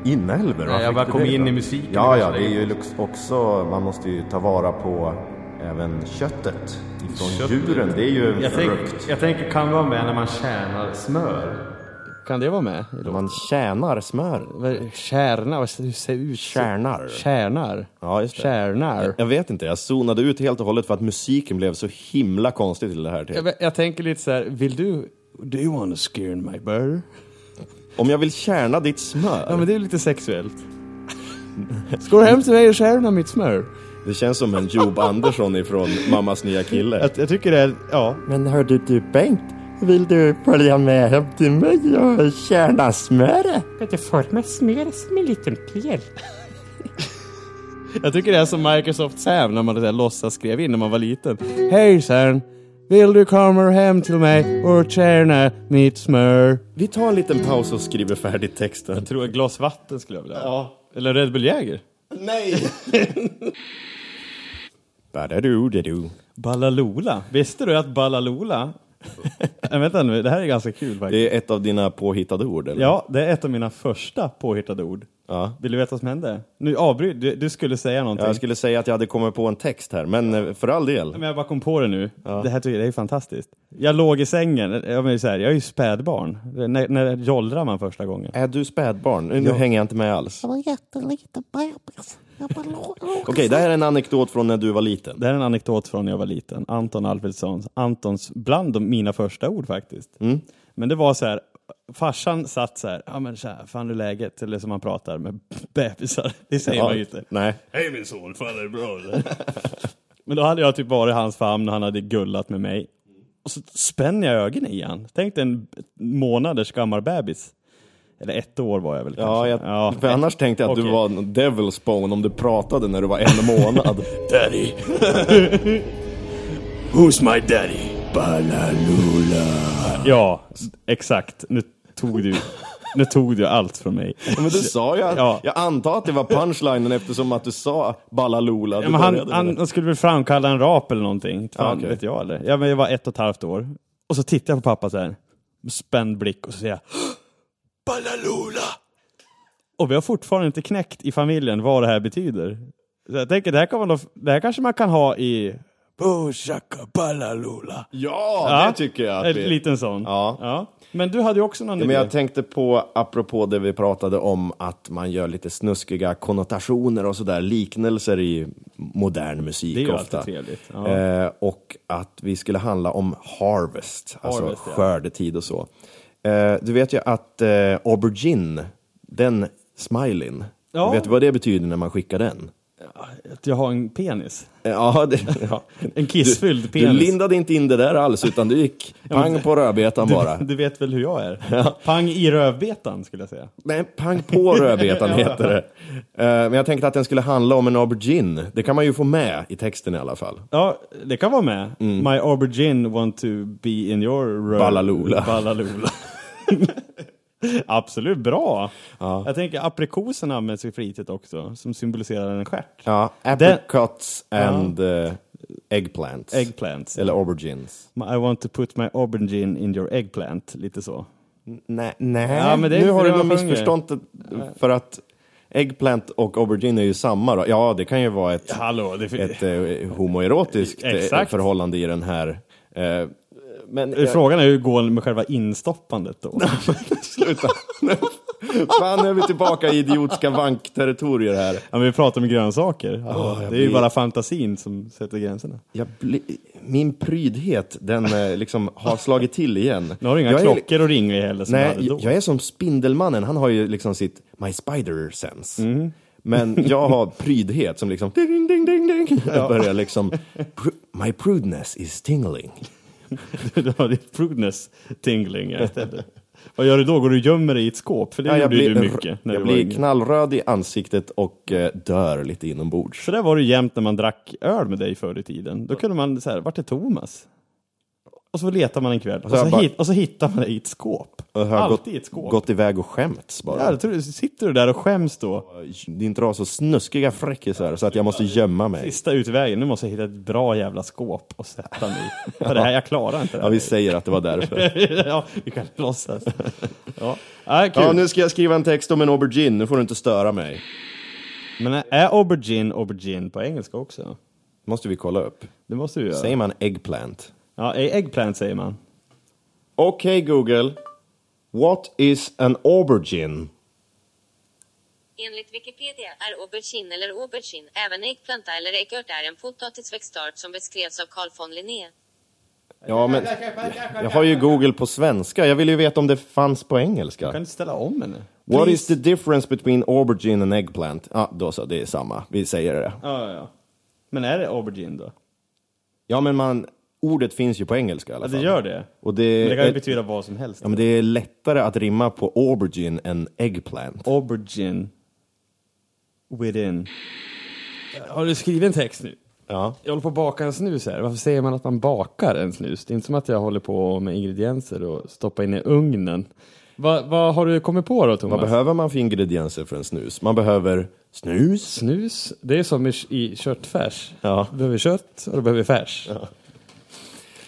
A: Inälvor?
B: Nej, jag bara kom in i musiken.
A: Ja, ja, det är ju lux- också, man måste ju ta vara på även köttet ifrån djuren. Det är ju en
B: Jag,
A: frukt.
B: tänk, jag tänker, kan vara med när man tjänar smör? Kan det vara med?
A: Man tjänar smör.
B: Vad- Kärna, vad hur ser det ut?
A: Kärnar.
B: Kärnar.
A: Ja, just det.
B: Kärnar.
A: Jag vet inte, jag zonade ut helt och hållet för att musiken blev så himla konstig till det här. typ. Till.
B: Jag, jag tänker lite så här, vill du... Do you wanna scare in my burger?
A: Om jag vill kärna ditt smör.
B: Ja men det är lite sexuellt. Ska du hem till mig och kärna mitt smör?
A: Det känns som en Job Andersson ifrån Mammas nya kille.
B: Jag, jag tycker det är, ja.
A: Men hörde du Bengt, vill du följa med hem till mig och kärna smöret?
D: Vet du, forma smör som en liten pel.
B: Jag tycker det är som Microsoft Sam när man så här låtsas skrev in när man var liten. Hejsan! Vill du komma hem till mig och kärna mitt smör?
A: Vi tar en liten paus och skriver färdigt texten.
B: Jag tror ett glas vatten skulle jag vilja Ja. Eller Red Bull Jäger.
A: Nej! Badadoo-dadoo.
B: Ballalola. Visste du att Ballalola... [LAUGHS] Nej, vänta nu, det här är ganska kul faktiskt.
A: Det är ett av dina påhittade ord, eller?
B: Ja, det är ett av mina första påhittade ord.
A: Ja.
B: Vill du veta vad som hände? Nu avbryt, du, du skulle säga någonting.
A: Jag skulle säga att jag hade kommit på en text här, men eh, för all del.
B: Men jag bara kom på det nu. Det här tycker jag det är fantastiskt. Jag låg i sängen, jag, men så här, jag är ju spädbarn. Det- När, när jollrar man första gången?
A: Är du spädbarn? Nu hänger jag inte med alls.
I: Jag var jätteliten bebis. Jag bara låg
A: Okej, det här är en anekdot från när du var liten.
B: Det här är en anekdot från när jag var liten. Anton Alfredssons, Antons, bland de, mina första ord faktiskt. Men det var så här, farsan satt så här, ja men så här, fan hur är läget? Eller som man pratar med bebisar, det [LAUGHS] säger man ju inte.
A: Nej.
B: Hej min son, fan är det bra eller? Men då hade jag typ varit i hans famn och han hade gullat med mig. Och så spänner jag ögonen i han. Tänk dig en månaders gammal bebis. Eller ett år var jag väl
A: Ja,
B: kanske.
A: jag, för annars tänkte jag att du
B: Okej.
A: var en devil's bone om du pratade när du var en
B: [LAUGHS]
A: månad.
C: Daddy. Who's my daddy? Balalula.
B: Ja, exakt. Nu tog du, nu tog du allt från mig.
A: Men du sa ju att,
B: Ja.
A: jag antar att det var punchlinen eftersom att du sa Ballalola.
B: Ja, men han, han, han skulle väl framkalla en rap eller någonting. Fan,
A: Ah, okej.
B: vet jag eller? Ja, men jag var ett och ett halvt år. Och så tittar jag på pappa så här. Med spänd blick och så säger jag [GASPS]
C: Balalula.
B: Och vi har fortfarande inte knäckt i familjen vad det här betyder. Så jag tänker, det här, kan man då, det här kanske man kan ha i...
C: Bushaka balalula.
A: ja, det tycker jag.
B: En
A: Att vi...
B: liten sån.
A: Ja.
B: Men du hade ju också någon
A: Men
B: idé.
A: jag tänkte på, apropå det vi pratade om, att man gör lite snuskiga konnotationer och sådär, liknelser i modern musik
B: Det är ju
A: ofta.
B: alltid trevligt. Ja.
A: Eh, och att vi skulle handla om harvest, alltså
B: Harvest, ja.
A: skördetid och så. Eh, du vet ju att eh, aubergine, den smileyn,
B: Ja.
A: vet du vad det betyder när man skickar den?
B: Att jag har en penis.
A: Eh, Ja,
B: [LAUGHS]
A: det, ja.
B: En kissfylld
A: du, du
B: penis.
A: lindade inte in det där alls, utan du gick pang på rödbetan bara.
B: [LAUGHS] Du vet väl hur jag är? Pang i rövbetan skulle jag säga.
A: Nej, pang på [LAUGHS] rödbetan heter det. Eh, Men jag tänkte att den skulle handla om en aubergine. Det kan man ju få med i texten i alla fall.
B: Ja, det kan vara med.
A: Mm.
B: My aubergine want to be in your röv...
A: Ballalola. [LAUGHS]
B: Ballalola. Absolut bra. Jag tänker aprikosen används ju flitigt också, som symboliserar en stjärt.
A: Ja, apricots and eh, eggplants.
B: Eggplants.
A: Eller aubergines.
B: I want to put my aubergine in your eggplant, lite så.
A: Nej, nej.
B: Ja, men det är
A: nu
B: inte
A: har
B: det
A: du nog
B: man sjunger.
A: missförstånd för att eggplant och aubergine är ju samma. Då. Ja, det kan ju vara ett,
B: Hallå, det
A: ett eh, homoerotiskt eh,
B: Exakt.
A: förhållande i den här Eh, men
B: Frågan är hur det går med själva
A: [LAUGHS]
B: instoppandet då?
A: Sluta. Fan är vi tillbaka i idiotiska vankterritorier här.
B: Ja, men vi pratar om grönsaker.
A: Åh,
B: Alltså,
A: jag
B: det är ju
A: blir-
B: bara fantasin som sätter gränserna.
A: Jag bli, min prydhet, den eh, liksom har slagit till igen.
B: Nu har du inga
A: jag Är, liksom-
B: klockor att ringa i heller som du
A: nej,
B: hade då.
A: jag är som Spindelmannen, han har ju liksom sitt My Spider Sense.
B: Mm.
A: Men jag har prydhet som liksom ding, ding, ding, ding. Jag börjar liksom, pr- my prudness is tingling.
B: [LAUGHS] du har ditt prudness tingling istället. Vad gör du då? Går du och gömmer dig i ett skåp? För det
A: Ja, jag
B: gjorde
A: blir,
B: du mycket när
A: jag
B: du var
A: blir
B: yngre.
A: knallröd i ansiktet och eh, dör lite inombords.
B: Så där var det jämt när man drack öl med dig förr i tiden. Då kunde man så här, vart är Thomas? Och så letar man en kväll och
A: så
B: så,
A: jag bara-
B: hit, och så hittar man dig i ett skåp.
A: Och har
B: Alltid i ett
A: gått,
B: skåp.
A: gått iväg och skämts bara.
B: Ja, då tror du- sitter du där och skäms då?
A: inte dra så snuskiga fräckisar så att jag måste gömma mig.
B: Sista utvägen, nu måste jag hitta ett bra jävla skåp och sätta mig
A: [LAUGHS]
B: i. För det här, jag klarar inte det
A: Ja,
B: här.
A: vi säger att det var därför.
B: [LAUGHS] ja, vi kan låtsas.
A: [LAUGHS]
B: Ja, ja kul.
A: Ja, nu ska jag skriva en text om en aubergine, nu får du inte störa mig.
B: Men är aubergine aubergine på engelska också?
A: måste vi kolla upp.
B: Det måste du göra.
A: Säger man eggplant?
B: Ja, eggplant säger man.
A: Okej Google, what is an aubergine?
J: Enligt Wikipedia är aubergine eller aubergine även äggplanta eller äggört är en potatisväxtart som beskrevs av Carl von Linné.
A: Ja, men jag har ju Google på svenska, jag ville ju veta om det fanns på
B: Kan
A: engelska.
B: du ställa om henne?
A: What is the difference between aubergine and eggplant? Ja, då så, det är samma. Vi säger det.
B: Ja, ja, ja. Men är det aubergine då?
A: Ja, men man, ordet finns ju på engelska i alla
B: Ja,
A: fall.
B: det Alltså, gör det.
A: Och det,
B: Men det kan ju betyda vad som helst.
A: Ja, men det är lättare att rimma på aubergine än eggplant.
B: Aubergine. Within. Har du skrivit en text nu?
A: Ja.
B: Jag håller på att baka en snus här. Varför säger man att man bakar en snus? Det är inte som att jag håller på med ingredienser och stoppa in i ugnen. Vad vad har du kommit på då, Thomas?
A: Vad behöver man för ingredienser för en snus? Man behöver snus.
B: Snus, det är som i, i köttfärs.
A: Ja.
B: Du behöver kött och du behöver färs.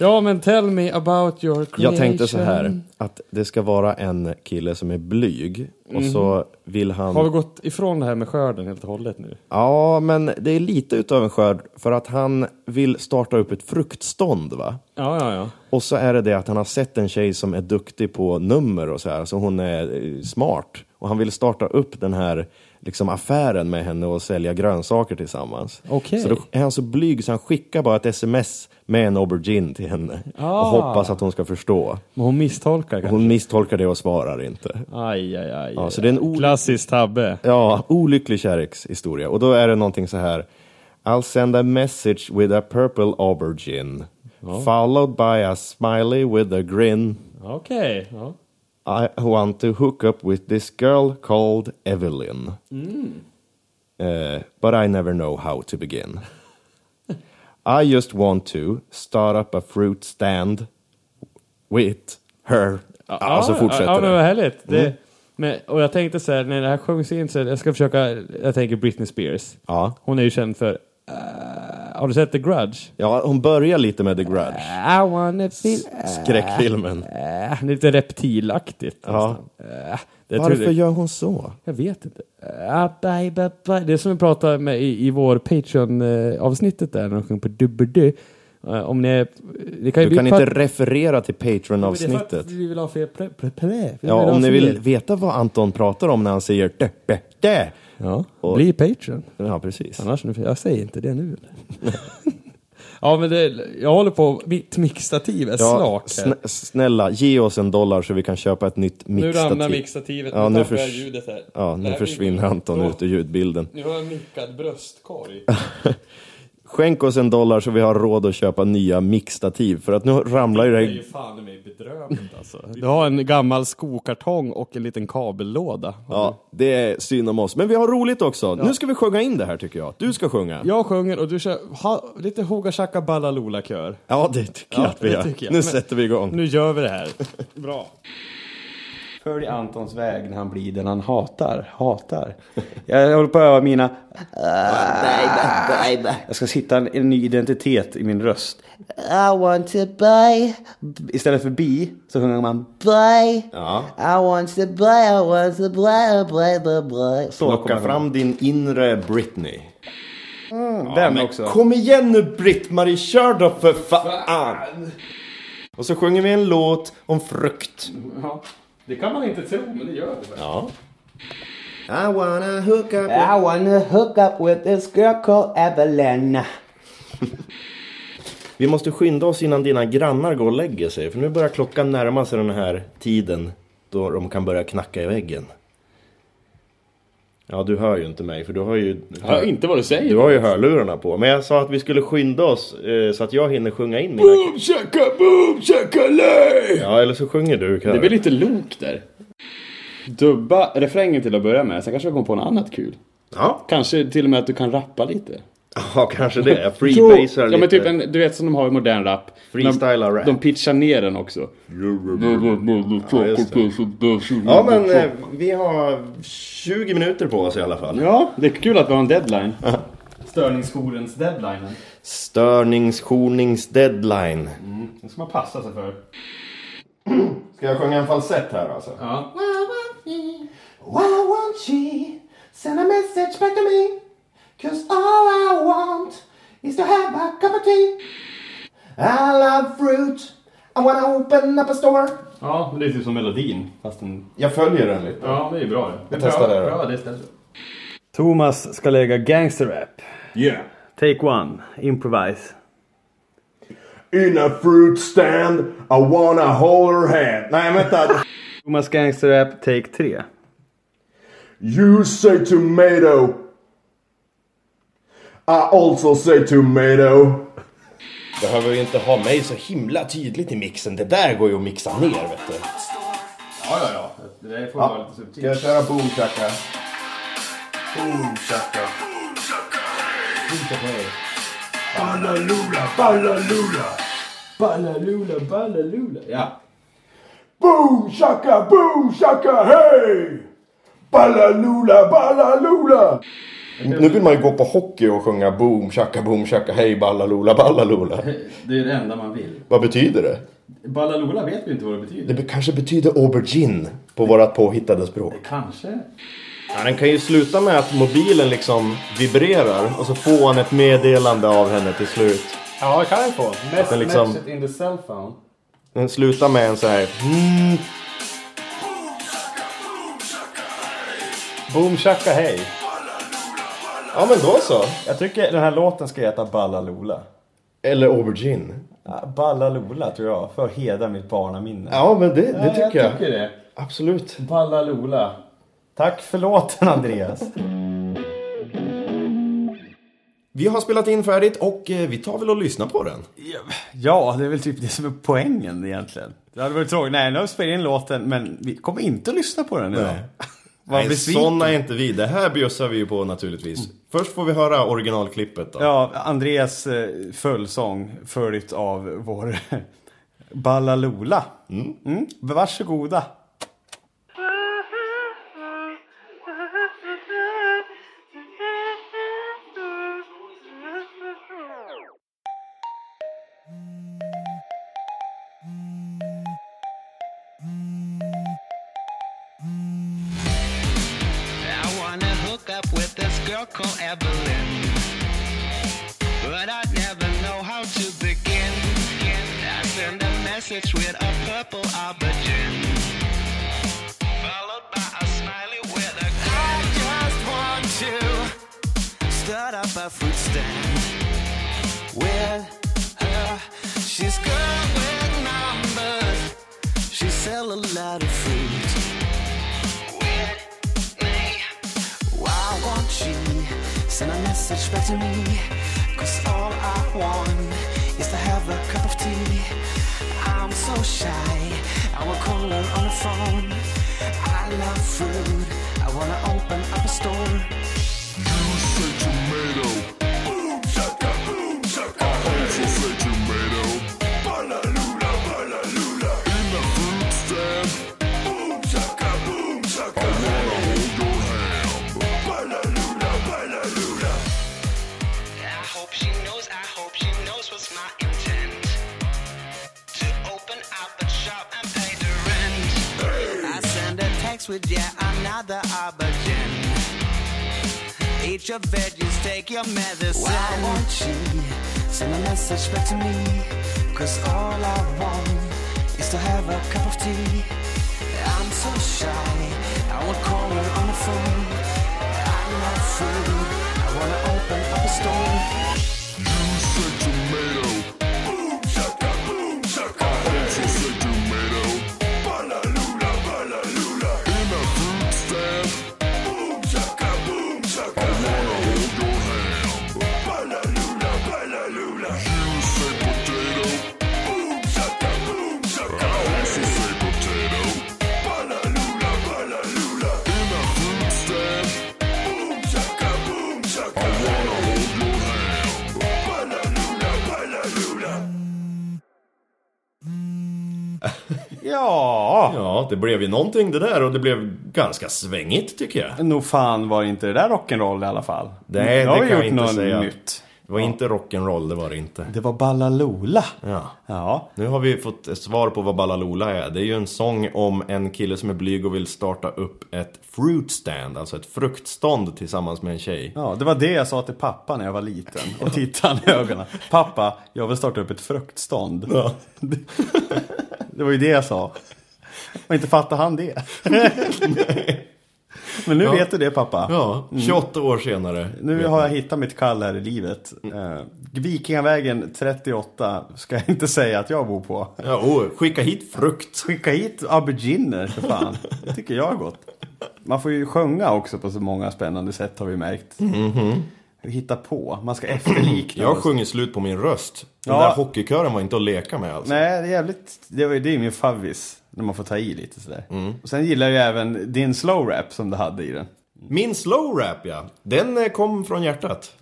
B: Ja. men tell me about your creation.
A: Jag tänkte så här, att det ska vara en kille som är blyg och så vill han...
B: Mhm. Har vi gått ifrån det här med skörden helt och hållet nu?
A: Ja, men det är lite utav en skörd för att han vill starta upp ett fruktstånd va?
B: Ja, ja, ja.
A: Och så är det det att han har sett en tjej som är duktig på nummer och så här, så hon är eh, smart. Och han vill starta upp den här liksom, affären med henne och sälja grönsaker tillsammans.
B: Okej.
A: Så då är han så blyg så han skickar bara ett sms med en aubergine till henne. Och hoppas att hon ska förstå.
B: Men hon misstolkar kanske?
A: Hon misstolkar det och svarar inte.
B: Aj, aj, aj.
A: Ja, så det är en o-
B: Klassisk tabbe.
A: Ja, olycklig kärlekshistoria. Och då är det någonting så här. I'll send a message with a purple aubergine. Followed by a smiley with a grin.
B: Okej. Ja.
A: I want to hook up with this girl called Evelyn.
B: Mm.
A: Uh, but I never know how to begin. I just want to start up a fruit stand with her. Ja, och så
B: ja,
A: fortsätter
B: men vad
A: det. Mm.
B: härligt. Det, men, och jag tänkte så här, när det här sjungs in så här, jag ska försöka, jag tänker Britney Spears.
A: Ja.
B: Hon är ju känd för, eh, har du sett The Grudge?
A: Ja, hon börjar lite med The Grudge,
B: I wanna feel...
A: skräckfilmen.
B: Äh, lite reptilaktigt.
A: Ja.
B: nästan. Äh, det tror
A: Varför
B: jag,
A: gör hon så?
B: jag vet inte. Äh, bye, bye, bye. Det är som vi pratade med i, i vår Patreon-avsnittet där när de sjöng på dubberdö. Äh, Om ni... är- Det kan ju
A: Du kan
B: bli för
A: inte
B: att-
A: referera till
B: Men det är för att
A: Patreon-avsnittet.
B: Vi vill ha fler pre, pre, pre, vi vill
A: Ja,
B: ha
A: om ni
B: fler.
A: vill veta vad Anton pratar om när han säger dö, dö, dö.
B: Ja,
A: Och-
B: bli Patreon.
A: Ja, precis.
B: Annars, jag säger inte
A: [LAUGHS]
B: det nu. ja, men det, jag håller på, mitt mixtativ är
A: Ja,
B: slak här.
A: sn- snälla, ge oss en dollar så vi kan köpa ett nytt
B: Nu ramlar
A: mixtativ.
B: mixtativet,
A: Ja,
B: nu
A: nu
B: tappar jag
A: förs-
B: ljudet här.
A: Ja,
B: Det
A: nu
B: här
A: försvinner
B: blir-
A: Anton
B: Åh,
A: ut ur ljudbilden.
B: Nu har jag mickad bröstkorg.
A: Skänk oss en dollar så vi har råd att köpa nya mixtativ. För att nu ramlar ju det
B: Det är ju
A: här...
B: fan i mig bedrövligt alltså.
A: [LAUGHS]
B: Du har en gammal skokartong och en liten kabellåda.
A: Ja, det är synd om oss. Men vi har roligt också. Nu ska vi sjunga in det här tycker jag. Du ska sjunga.
B: Jag sjunger och du kör ha, lite Hoga Chaka Ballalola-kör.
A: Ja, det tycker jag att vi
B: det
A: gör.
B: tycker jag.
A: Nu
B: Men-
A: sätter vi igång.
B: Nu gör vi det här. Bra. Följ Antons väg när han blir den han hatar. Hatar. Jag håller på att öva mina... "Ah." Jag ska hitta en, en ny identitet i min röst.
I: I want to buy,
B: Istället för bi så sjunger man...
I: buy.
A: Ja.
I: I want to buy, I want to buy, buy, buy, buy.
B: Så kommer
A: Plocka
B: jag-
A: fram din inre Britney.
B: Mm, Den också.
A: Kom igen nu Britt-Marie, kör då för fan! Och så sjunger vi en låt om frukt.
B: Ja. Det kan man inte tro, men det gör det.
A: Ja. I wanna hook up
D: I wanna hook up with this girl called Evelyn.
A: Vi måste skynda oss innan dina grannar går och lägger sig. För nu börjar klockan närma sig den här tiden då de kan börja knacka i väggen. Ja, du hör ju inte mig för du har ju...
K: Jag hör inte vad du säger.
A: Du har ju hörlurarna på. Men jag sa att vi skulle skynda oss eh, så att jag hinner sjunga in mina...
K: Boom shaka boom shaka lay!
A: Ja, eller så sjunger du. Karin.
K: Det blir lite lok där. Dubba refrängen till att börja med, sen kanske vi kommer på något annat kul.
A: Ja.
K: Kanske till och med att du kan rappa lite.
A: Ja, kanske det. Jag freebasar lite.
K: Ja, men typ en, du vet som de har i modern rap.
A: Freestylar
K: de,
A: rap.
K: De pitchar ner den också.
A: Ja, just det. ja, men eh, vi har 20 minuter på oss i alla fall.
K: Ja, det är kul att vi har en deadline.
B: Störningsjourens deadline.
A: Störningsjournings deadline.
B: Mm. Det ska man passa sig för.
A: Ska jag sjunga en falsett här alltså?
B: Ja.
L: Why won't she? Why won't she send a message back to me? Cause all I want is to have a cup of tea. I love fruit. I wanna open up a store.
B: Ja, men det är typ som melodin. Fast en...
A: Jag följer den lite.
B: Ja, det är bra det.
A: Vi testar det då.
B: Bra, det testar. Thomas ska lägga gangsterrap.
M: Yeah.
B: Take one. Improvise.
N: In a fruit stand, I wanna hold her hand. Nej, vänta.
B: Thomas gangsterrap, take 3.
N: You say tomato. I also say tomato.
A: Behöver ju inte ha mig så himla tydligt i mixen. Det där går ju att mixa ner, vet du.
B: Ja, ja, ja. Det där får vara lite subtilt.
N: Ska jag köra boom chaka? Boom chaka. Boom chaka. Ballalula, ballalula.
B: Ballalula, ballalula. Ja.
N: Boom chaka, boom chaka, hey! Ballalula, ballalula.
A: Nu vill man ju gå på hockey och sjunga boom chaka boom chaka hej ballalola ballalola.
B: [LAUGHS] Det är det enda man vill.
A: Vad betyder det?
B: Ballalola vet vi inte vad det betyder.
A: Det be- kanske betyder aubergine på vårat påhittade språk.
B: Kanske.
A: Ja, den kan ju sluta med att mobilen liksom vibrerar och så får han ett meddelande av henne till slut.
B: Ja, det kan jag få. Mess,
A: Men liksom-
B: Message in the cell phone.
A: Den slutar med en så här... Mm, boom chaka hej. Ja men då så.
B: Jag tycker den här låten ska heta Ballalola.
A: Eller aubergine.
B: Ballalola tror jag, för att hedra mitt barnaminne.
A: Ja men det, det tycker jag.
B: tycker det.
A: Absolut.
B: Ballalola. Tack för låten Andreas.
A: Vi har spelat in färdigt och eh, vi tar väl och lyssnar på den.
B: [LAUGHS] Ja, det är väl typ det som är poängen egentligen. Det hade varit tråkigt. Nej, nu har vi spelat in låten men vi kommer inte att lyssna på den idag. [LAUGHS] Vad
A: Nej,
B: besviken.
A: Eh,
B: Mm.
A: såna är inte vi. Det här bjussar vi ju på naturligtvis. Först får vi höra originalklippet då.
B: Ja, Andreas eh, följsång följt av vår [LAUGHS] Ballalola. Mm. Varsågoda.
F: [LAUGHS]
C: I wanna hook up with this girl called Evelyn. But I never know how to begin. I send a message with a purple aubergine. Followed by a smiley with a I just want to start up a fruit stand with her. She's good with numbers. She sell a lot of fruit. Why won't she send a message back to me? Cause all I want is to have a cup of tea. I'm so shy, I will call her on the phone. I love food, I wanna open up a store. You say tomato. Boom, shaka, boom, shaka. I also say tomato. Balalula, balalula. In the fruit stand. Boom, shaka, boom, shaka. I wanna hold your hand. Balalula, balalula. I hope she knows, I hope she knows what's my intent. To open up a shop and pay the rent. I send a text with yet another aubergine. Eat your veggies, take your medicine. Why won't she send a message back to me? Cause all I want
O: just to have a cup of tea. I'm so shy, I won't call her on the phone. I'm not food, I wanna open up a store. You said tomato. Boom, shaka, boom, shaka. I also said tomato. Balalula, balalula. In a fruit stand. Boom, shaka, boom, shaka. I wanna hold your hand. Balalula, balalula. You said potato. Boom, shaka, boom, shaka. I also said potato. Balalula, balalula. In a fruit stand. Boom, shaka, boom, shaka. I wanna hold your hand. Balalula, balalula.
A: Ja. ja, det blev ju någonting det där och det blev ganska svängigt tycker jag.
B: Nog fan var inte det där rock'n'roll i alla fall.
A: Nej,
B: Jag har
A: det kan jag
B: gjort
A: inte
B: något
A: säga.
B: nytt.
A: Det var inte rock'n'roll, det var det inte.
B: Det var Ballalola.
A: Ja.
B: ja.
A: Nu har vi fått svar på vad Ballalola är. Det är ju en sång om en kille som är blyg och vill starta upp ett fruit stand, alltså ett fruktstånd tillsammans med en tjej.
B: Ja, det var det jag sa till pappa när jag var liten och tittade han i ögonen. Pappa, jag vill starta upp ett fruktstånd.
A: Ja.
B: Det, det var ju det jag sa. Och inte fattade han det. Men nu
A: Ja.
B: vet du det pappa.
A: Ja, 28 år senare.
B: Mm. Nu
A: vet Mm.
B: har jag
A: man.
B: hittat mitt kall här i livet. Eh, Vikingavägen 38 ska jag inte säga att jag bor på.
A: Ja, oh, skicka hit frukt.
B: Skicka hit auberginer för fan. Det tycker jag är gott. Man får ju sjunga också på så många spännande sätt har vi märkt.
A: Mhm.
B: Hitta på, man ska efterlikna.
A: Jag sjunger slut på min röst. Den
B: Ja.
A: där hockeykören var inte att leka med alltså. alls.
B: Nej, det är jävligt, det, var, ju- det är ju min favvis. När man får ta i lite sådär.
A: Mm.
B: Och sen gillar jag även din slow rap som du hade i den.
A: Min slow rap ja, den eh, kom från hjärtat.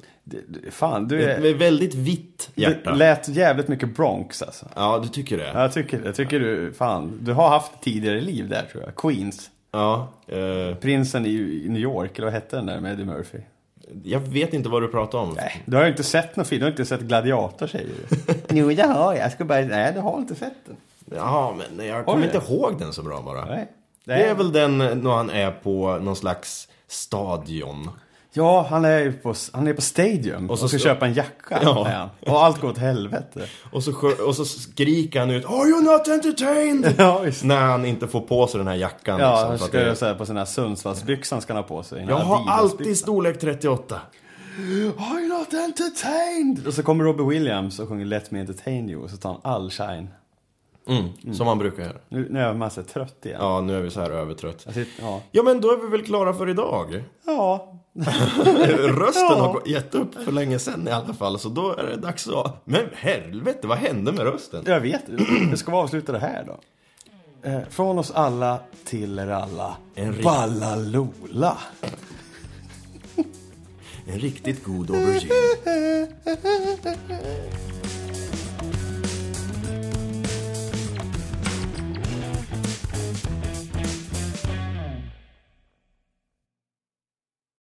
B: Fan, du
A: Ett
B: är...
A: väldigt vitt hjärta.
B: Det lät jävligt mycket Bronx alltså.
A: Ja, du tycker det?
B: Ja, jag tycker det. Jag tycker du, fan, du har haft tidigare liv där tror jag. Queens.
A: Ja. Eh,
B: Prinsen i i New York, eller vad hette den där med Eddie Murphy?
A: jag vet inte vad du pratar om.
B: Du har ju inte sett någon film, du har inte sett Gladiator säger du. [LAUGHS] jo, det har jag. Jag ska bara, nej du har inte sett den.
A: Ja, men nej, jag kommer
B: Oj.
A: inte ihåg den så bra bara.
B: Nej.
A: Det är väl den när han är på någon slags stadion.
B: Ja, han är ju på, han är på Stadium och,
A: så
B: ska
A: ska-
B: köpa en jacka.
A: Ja.
B: är han. Och allt går
A: [LAUGHS]
B: åt helvete.
A: Och så, sjö- och så skriker han ut Are you not entertained?
B: [LAUGHS] Ja, visst.
A: När han inte får på sig den här jackan.
B: Ja,
A: liksom,
B: han
A: för att
B: ska
A: det-
B: ju så här på sina Sundsvallsbyxor han ska han ha på sig.
A: jag har alltid storlek 38.
B: Are you not entertained? Och så kommer Robbie Williams och sjunger Let me entertain you och så tar han all shine.
A: Mm, Som han brukar göra.
B: Nu, nu är man så här trött igen.
A: Ja, nu är vi så här övertrött.
B: Alltså, ja.
A: Ja, men då är vi väl klara för idag.
B: ja.
A: Rösten
B: [LAUGHS] Ja.
A: har gett upp för länge sedan i alla fall, så då är det dags att... Men helvete, vad hände med rösten?
B: Jag vet. Jag ska vi avsluta det här då? Eh, Från oss alla till er alla.
A: En rik-
B: Ballalola.
A: En riktigt god aubergine.